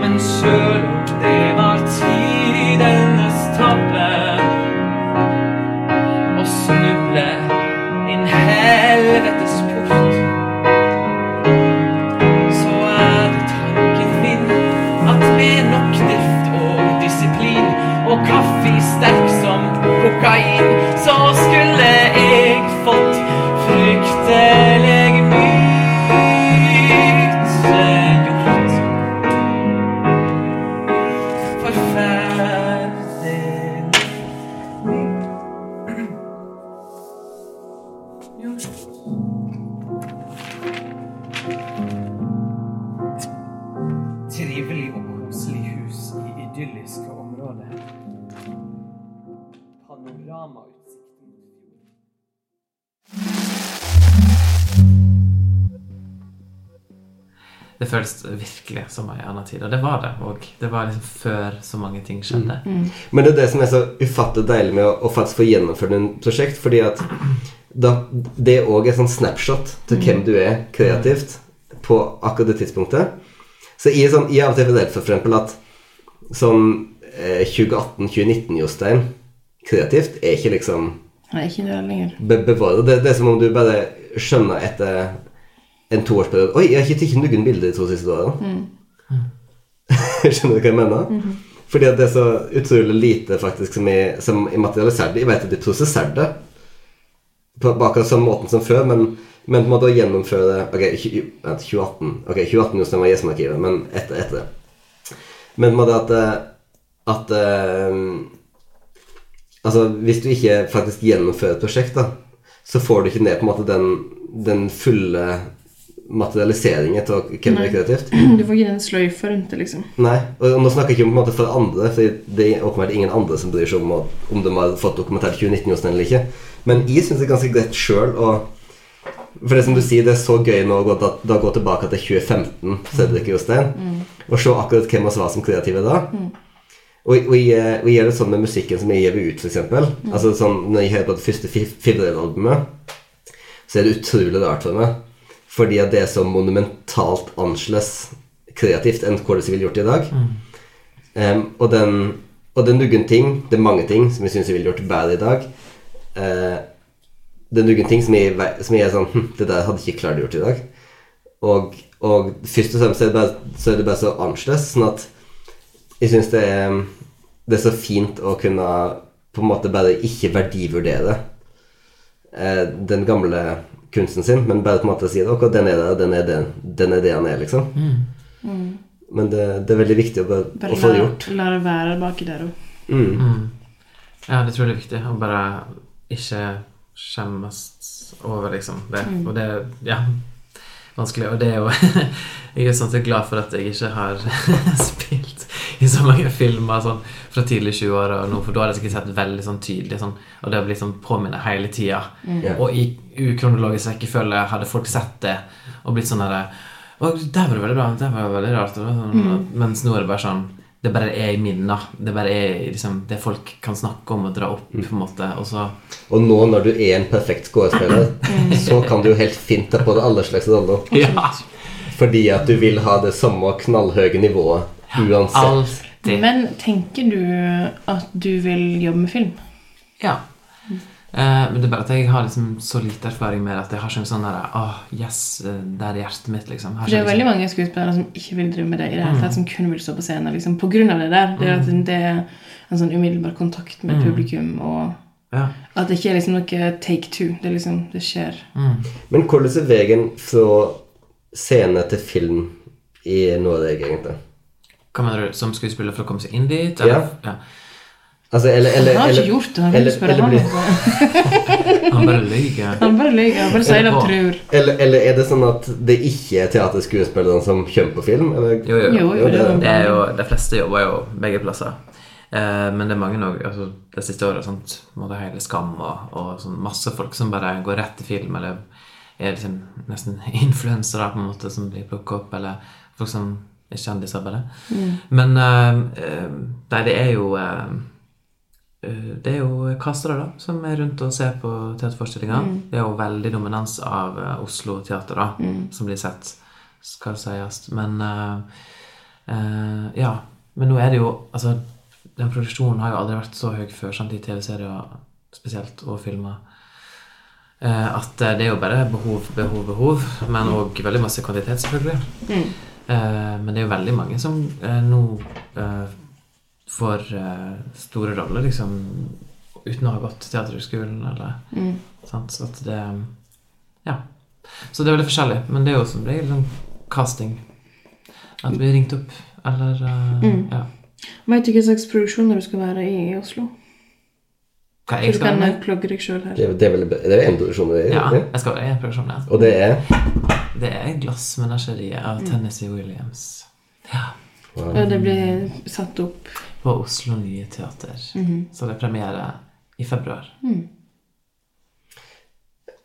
Men sjøl om det var tidenes tabbe Å snuble inn helvetes port Så er det tanken min At med nok drift og disiplin Og kaffe sterk som kokain Så skulle jeg fått fryktelig mye gjort forferdelig. Trivelig og koselig hus i idylliske områder. Panoramautsikt mot fjorden.
Det føles virkelig som en annen tid, og det var det òg. Det var liksom før så mange ting skjedde.
Men det er det som er så ufattelig deilig med å, å faktisk få gjennomført en prosjekt, fordi at da, det er også et sånn snapshot til hvem du er kreativt på akkurat det tidspunktet. Så jeg er, sånn, jeg er av og til redd for for eksempel at sånn eh, 2018-2019 Jostein kreativt er ikke liksom
Nei, ikke det lenger.
be bevare. Det, det er som om du bare skjønner etter en toårsperiode Oi, jeg har ikke tatt noen bilder de to siste årene. <laughs> Skjønner du hva jeg mener? Fordi at det er så utrolig lite faktisk som er, som er materialisert. Jeg vet at de prosesserer det på på akkurat samme måten som før, men, men på en måte å gjennomføre Ok, tju- vent, 2018 Ok, 2018 just når jeg var Gjesmarkivet, men etter, etter det. Men på en måte at, eh, at eh, Altså, hvis du ikke faktisk gjennomfører et prosjekt, da, så får du ikke ned på en måte den, den fulle materialiseringen av hvem du er kreativt.
Du får ikke den sløyfa rundt det, liksom.
Nei, og nå snakker jeg ikke om på en måte for andre, for det er åpenbart ingen andre som bryr seg om å- om de har fått dokumentert 2019-josten eller ikke. Men jeg syns det er ganske greit sjøl å For det som du sier, det er så gøy nå å gå, da, da gå tilbake til 2015, Cedric Jostein, og se akkurat hvem vi var som kreative da. Og, og, jeg, og jeg gjør det sånn med musikken som jeg gir ut, f.eks. eksempel Altså, sånn, når jeg hører på det første Fi- Fibrillalbumet, så er det utrolig rart for meg. Fordi at det er så monumentalt annerledes kreativt enn hvordan jeg ville gjort det i dag. Em, og, den, og det er noen ting, det er mange ting, som jeg syns jeg ville gjort bedre i dag. Eh, det er noen ting som jeg, ve- som jeg er sånn hm, Det der hadde jeg ikke klart å gjort i dag. Og, og først og fremst er det bare, så er det bare så annerledes. Sånn at jeg syns det er Det er så fint å kunne på en måte bare ikke verdivurdere eh, den gamle kunsten sin, men bare på en måte si at ok, den er det, og den er det, den er det han er, liksom. Men det, det er veldig viktig å, bare,
Bare
å få det
la,
gjort.
la det være baki der òg.
Ja, det tror jeg er viktig. Å bare ikke skjemmes over liksom det. Og det er ja, vanskelig. Og det er jo <laughs> Jeg er sånn sett glad for at jeg ikke har <laughs> spilt i så mange filmer sånn, fra tidlig 20-år og nå, for da har jeg sikkert sett veldig sånn tydelig sånn, og det har blitt sånn påminnet hele tida.
Ja.
Og i ukronologisk rekkefølge hadde folk sett det og blitt sånn derre og der var det veldig bra. Der var det veldig rart. og det var Sånn, Mens nå er det bare sånn Det bare er i minner. Det bare er i liksom, det folk kan snakke om og dra opp, på en måte. Og så
Og nå når du er en perfekt skuespiller, så kan du jo helt fint ta på deg alle slags roller.
<laughs> Ja!
Fordi at du vil ha det samme knallhøye nivået uansett.
Alltid.
Men tenker du at du vil jobbe med film?
Ja. Eh, men det er bare at jeg har liksom så lite erfaring med det at jeg har ikke en sånn derre Åh, yes, eh, der er hjertet mitt, liksom. Jeg har
For det er
ikke
jo veldig mange skuespillere som ikke vil drive med det
Mm.
i det hele tatt, som kun vil stå på scenen liksom, på grunn av det der. Det er at det er en sånn umiddelbar kontakt
Mm.
med publikum, og
ja.
at det ikke er liksom noe take two. Det er liksom, det skjer.
Men hvordan er veien fra scene til film i Norge, egentlig?
Hva mener du? Som skuespiller for å komme seg inn dit? eller- ja.
Altså, eller, eller,
Han har
eller,
ikke gjort det, han vil
eller,
ikke spørre
eller,
han.
blir-
altså.
Han bare lyver.
Han bare løy, han bare sier det han
Eller
tror.
eller, eller er det sånn at det ikke er teaterskuespillerne som kommer på film? Eller?
Jo, jo.
<laughs> Jo, jo, det
det-
er
Det er jo, de fleste jobber jo begge plasser. Eh, men det er mange òg. Altså, det siste året sånt, må det hele Skam og, og sånn masse folk som bare går rett til film eller er liksom nesten <laughs> influensere på en måte som blir plukket opp, eller folk som er kjendiser, bare. Men eh, eh, Nei, det er jo eh, eh, det er jo kassere da, som er rundt og ser på teaterforestillinger. Det er jo veldig dominans av eh, Oslo teater da, som blir sett, skal sies. Men eh, eh, ja, men nå er det jo, altså, den produksjonen har jo aldri vært så høy før, sant, i tv-serier spesielt, og filmer. Eh, at eh, det er jo bare behov, behov, behov, men òg veldig masse kvantitet, selvfølgelig. Eh, men det er jo veldig mange som eh, nå eh, får eh, store roller, liksom, uten å ha gått teaterhøgskolen, eller sant, så at det Ja. Så det er veldig forskjellig, men det er jo som regel sånn casting. At vi ringte opp, eller eh,
Mm.
Ja.
Veit du hva slags produksjoner du skal være i i Oslo?
Hva
Du
jeg skal
kan
være med?
eh, plugge deg sjøl her.
Det er, det er vel det er en produksjon det er,
Ja,
ikke?
jeg skal være i en produksjon, ja.
Og det er
Det er Glassmenageriet
Mm.
av Tennessee Williams.
Og det blir satt opp
på Oslo Nye Teater.
Mhm.
Så det er premiere i februar.
Mm.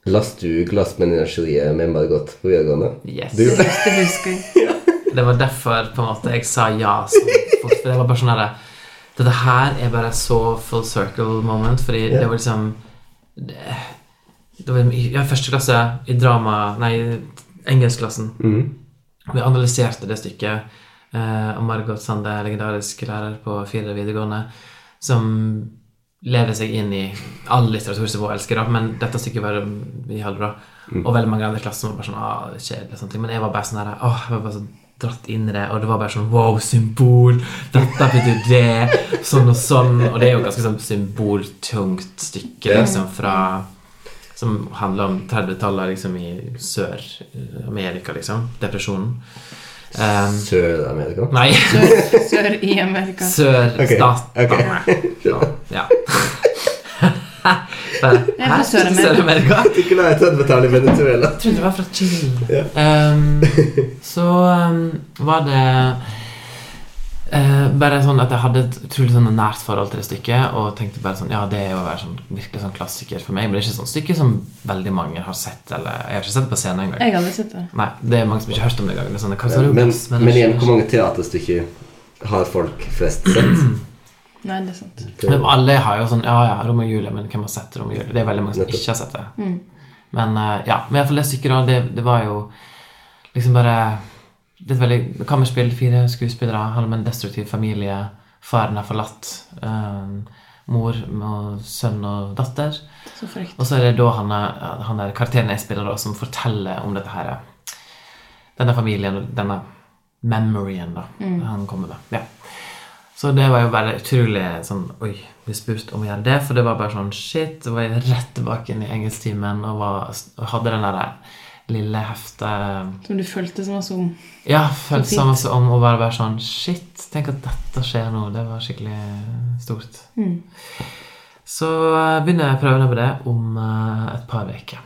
Last du glassmenageriet med Margot på videregående?
Yes.
Du-
det siste husker jeg.
Det var derfor på en måte jeg sa ja så fort. For det var bare sånn herre Dette her er bare så full circle moment, fordi det var liksom det, det var, Ja, første klasse i drama Nei, engelskklassen. Vi analyserte det stykket. eh, Og Margot Sande, legendarisk lærer på fire videregående, som lever seg inn i all litteratur som hun elsker, da, men dette stykket var det vi hadde da. Og veldig mange andre i klassen var bare sånn ah, det er kjedelig og sånne ting. Men jeg var bare sånn her åh, jeg var bare så dratt inn i det, og det var bare sånn wow, symbol, dette betyr det, sånn og sånn. Og det er jo ganske sånn symboltungt stykke, liksom, fra som handler om 30-tallet liksom, i Sør-Amerika, liksom. Depresjonen. Um,
Sør-Amerika?
nei,
Sør, sør i Amerika.
Sør-Statene. Ja. Bare,
er fra
hæ?
Sør-Amerika.
Sør-Amerika?
Du kunne ha et 30-tall i Venezuela. <laughs>
Jeg trodde det var fra Chile. Ehm, så ehm, var det eh, bare sånn at jeg hadde et utrolig sånn nært forhold til det stykket. Og tenkte bare sånn, ja det er jo bare sånn, virkelig sånn klassiker for meg. Men det er ikke sånn stykke som veldig mange har sett. Eller, jeg har ikke sett det på scenen engang.
Jeg har aldri sett det.
Nei, det er mange som ikke har hørt om det engang. Det er sånn, hva sa du,
Men,
Glass?
men igjen, hvor mange teaterstykker har folk flest sett?
Nei, det er sant.
Men alle har jo sånn Ja, ja, Romeo og Julie, men hvem har sett Romeo og Julie? Det er veldig mange som ikke har sett det. Men eh, ja, men iallfall det stykket, da, det, det var jo liksom bare Det er et veldig kammerspill, fire skuespillere, handler om en destruktiv familie. Faren har forlatt eh, mor og sønn og datter.
Så frekt.
Og så er det da han, er, han er karakteren jeg spiller, da, som forteller om dette her. Denne familien og denne memoryen da, han kommer med. Ja. Så det var jo bare utrolig sånn Oi, bli spurt om å gjøre det. For det var bare sånn shit. Så var jeg rett tilbake inn i engelsktimen og, var, og hadde den der lille heftet
Som du følte som var som
ja, følte
fint.
seg masse om og bare være sånn Shit, tenk at dette skjer nå. Det var skikkelig stort.
Mm.
Så eh, begynner jeg prøvene på det om eh, et par uker.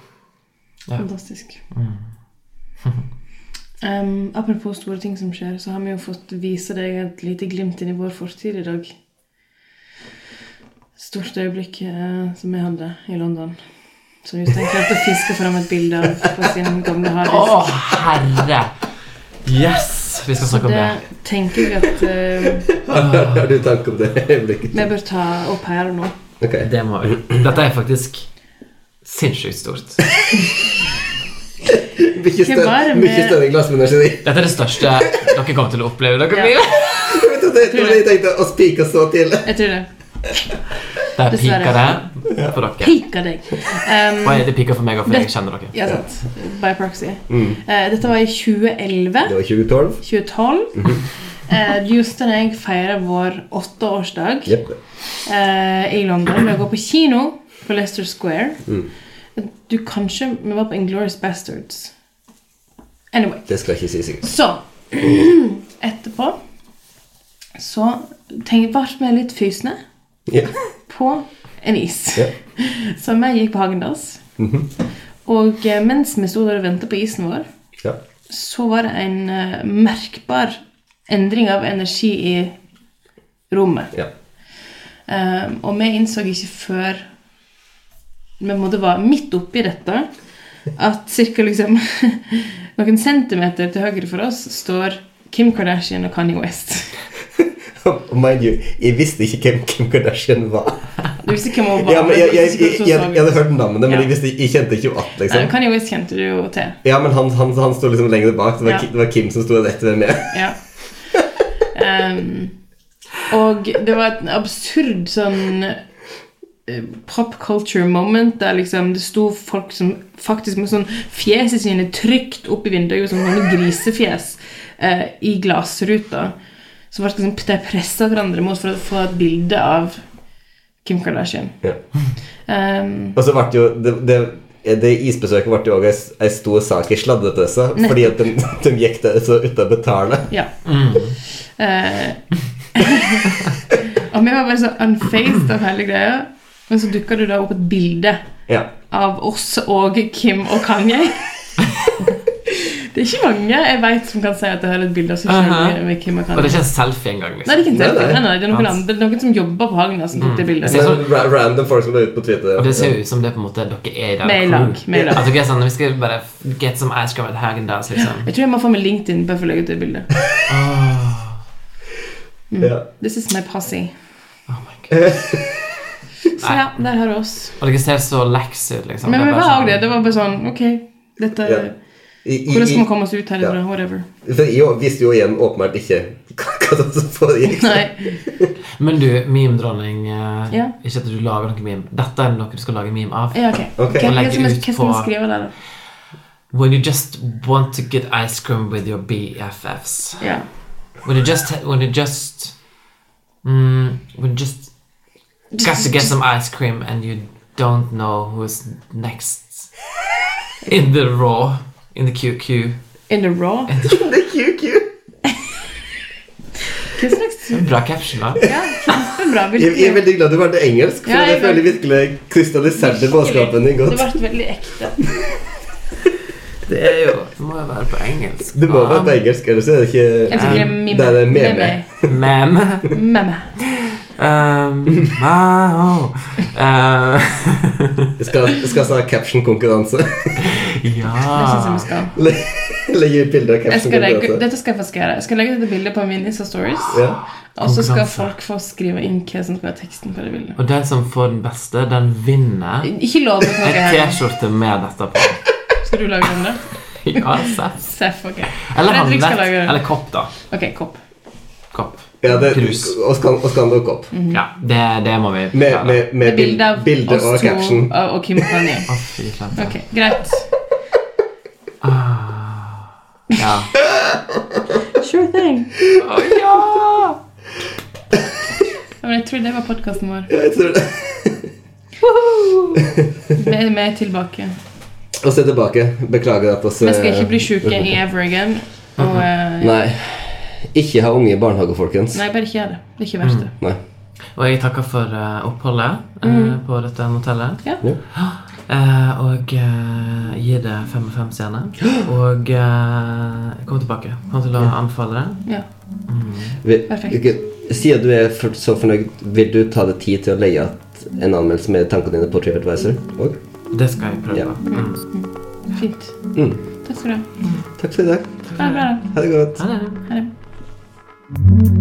Fantastisk.
Mm. <laughs>
Em, apropos store ting som skjer, så har vi jo fått vise deg et lite glimt inn i vår fortid i dag. Stort øyeblikk eh, som vi hadde i London. Så Jostein klarte å fiske fram et bilde av på sin gamle
Å,
harddisk.
herre! Yes! Vi skal
Så
snakke om det.
det tenker jeg at eh,
<laughs> Har du tanke om det øyeblikket?
vi bør ta opp her og nå.
Ok.
Det må vi. Dette er faktisk sinnssykt stort.
Mye
Hva var
større,
det
mye
med-
større glassmenageri.
Dette er det største dere kommer til å oppleve. Dere blir.
<laughs> Jeg vet at det- det var det jeg tenkte å spike så til.
Jeg tror det. Dessverre.
Der piker det for dere.
Pika deg! Em,
Oi, det piker for meg òg, for jeg kjenner dere.
ja, sant. By proxy.
Mm.
Eh, dette var i 2011.
Det var 2012.
2012. Eh, Jostein og jeg feirer vår åtteårsdag
Jepp.
eh, i London ved å gå på kino på Leicester Square. Du, kanskje vi var på Inglorious Bastards. Anyway.
Det skal jeg ikke si sikkert.
Så <clears throat> etterpå så tenk, ble vi litt fysne
Ja.
på en is.
Ja.
<laughs> Så vi gikk på Hagendals. Og eh, mens vi sto der og venta på isen vår,
ja.
så var det en eh, merkbar endring av energi i rommet. Ehm,
ja. <laughs>
Eh, og vi innså ikke før vi måtte være midt oppi dette at cirka liksom <laughs> noen centimeter til høyre for oss står Kim Kardashian og Kanye West.
Mind you, jeg visste ikke hvem Kim Kardashian var.
Du visste hvem hun var?
Ja, men jeg, jeg,
men du
jeg,
visste
jeg,
ikke hvordan hun så ut.
hadde hørt navnet, men
Ja.
jeg, visste, jeg kjente ikke henne igjen.
Nei,
Liksom.
Kanye West kjente du jo til.
Ja, men han, han, han sto liksom lenger bak. Det var,
Ja.
Ki- det var Kim som sto rett ved meg.
Ja. Ehm, og det var et absurd sånn eh, pop culture moment der liksom det sto folk som faktisk med sånn fjeset sine trygt opp i vinduet, som sånne grisefjes, eh, i glassruta. Så ble det liksom, de pressa hverandre mot for å få et bilde av Kim Kardashian.
Ja.
Ehm,
Og så ble det jo Det, det, det isbesøket ble jo også ei stor sak i sladretrøssa, fordi at de, de gikk der så uten å betale.
Ja. Eh, <laughs> og vi var bare så unfaced av hele greia. Men så dukka det da opp et bilde
Ja.
av oss og Kim og Kanye. det er ikke mange jeg vet som kan si at jeg har et bilde av seg
Aha.
sjøl med Kim og
Og det er
Kanye.
ikke en selfie engang.
Nei, det er
Liksom.
ikke
Nei,
en selfie.
nei.
Nei, nei, det er noen
Hans.
andre. Det er noen som jobber på Hagna, som tok det bildet.
Jeg ser
Men ra- random folk som la ut på Twitter.
Og det ser jo ut som det er på en måte dere er i den
Vi er i lag.
crew.
Vi er i
At
lag.
dere er sånn, vi skal bare get some ice cream at Häagen-Dazs,
<laughs>
liksom.
Jeg tror jeg må få meg LinkedIn bare for å legge ut det bildet.
Åh,
Ja.
This is my posse.
oh my God.
Så ja, der har du oss.
Og dere ser så lax ut, liksom.
Men
Det
vi
er bare
var
sånn-
òg det. Det var bare sånn Ok, dette
Ja. I, i,
Hvordan skal
i,
vi komme oss ut herifra?
Ja.
Whatever.
for jeg visste jo igjen åpenbart ikke hva hva som foregikk. <laughs>
Nei.
Men du, meme-dronning eh,
Ja.
Ikke at du lager noe meme. Dette er noe du skal lage meme av.
Ja, ok.
Ok.
Hva- Hva
Legge
skal vi-
ut
hva skal vi
på-
skrive der, da?
When you just want to get ice cream with your BFFs.
Ja.
When you just When you just mm, When you just got to get some ice cream and you don't know who's next in the raw, in the QQ.
In the raw?
Det er QQ.
Hva slags
Bra caption, da.
Ja, kjempebra.
Jeg, jeg er
Virkelig.
veldig glad du valgte engelsk, for
Ja, jeg
jeg føler virkelig krystalliserte budskapen din
Det
godt.
ble veldig ekte.
Det er jo Det må jo være på engelsk.
Det må være på engelsk, ellers er det
Jeg
ikke
tror det er
Um,
mime.
det er det meme.
Men
Meme.
Ah, <laughs> um, wow. Eh, <laughs>
Jeg skal, jeg skal ha caption-konkurranse. <laughs>
Det synes jeg
Ja.
vi skal.
Legge ut bilder av
Jeg skal legge,
caption-konkurranse.
dette skal jeg faktisk gjøre. Jeg skal legge ut dette bildet på min Insta-stories.
Ja.
Og så skal
Konkurranse.
folk få skrive inn hva som skal være teksten på det bildet.
Og den som får den beste, den vinner
Ikke lov til noe
en
her.
T-skjorte med dette
<laughs>
på.
Skal du lage den der?
Ja, seff.
Seff, ok.
Eller
Fredrik skal
handlet.
lage den.
Eller kopp, da.
Ok, kopp.
Kopp.
Ja, det,
Krus. Mm.
og så kan- og så kan dukke opp.
Ja, det, det må vi
Med, med, med
Det er
bilde
bilde av
og
oss
caption.
to og og Kim og Kanye.
Å, fy flate.
Ok, greit.
Ja.
<laughs> Sure thing.
Å, ja!
Ja, men jeg tror det var podkasten vår.
Ja, jeg tror det. <laughs>
Vi er- vi er tilbake.
Og så er jeg tilbake. Beklager at oss eh,
Vi skal ikke bli sjuke i ever again. Og, eh,
Nei. Ikke ha unge i barnehage, folkens.
nei, bare ikke gjør det. Det er ikke verst, det.
Nei.
Og jeg takker for eh, oppholdet eh, på dette motellet.
Mm. Ja.
Eh, og uh, gir det fem og fem
<gasps>
stjerner. Og eh, kom tilbake. Kom til å anbefale det.
Ja.
Vi,
Perfekt.
ikke- Siden du er for, så fornøyd, vil du ta deg tid til å leie at en anmeldelse med tankene dine på TripAdvisor? Og
Det skal jeg prøve.
Ja.
Mm.
Fint.
Mm.
Takk skal du ha.
takk for i dag.
Ha det bra. da.
Ha det godt.
Ha det.
Ha det.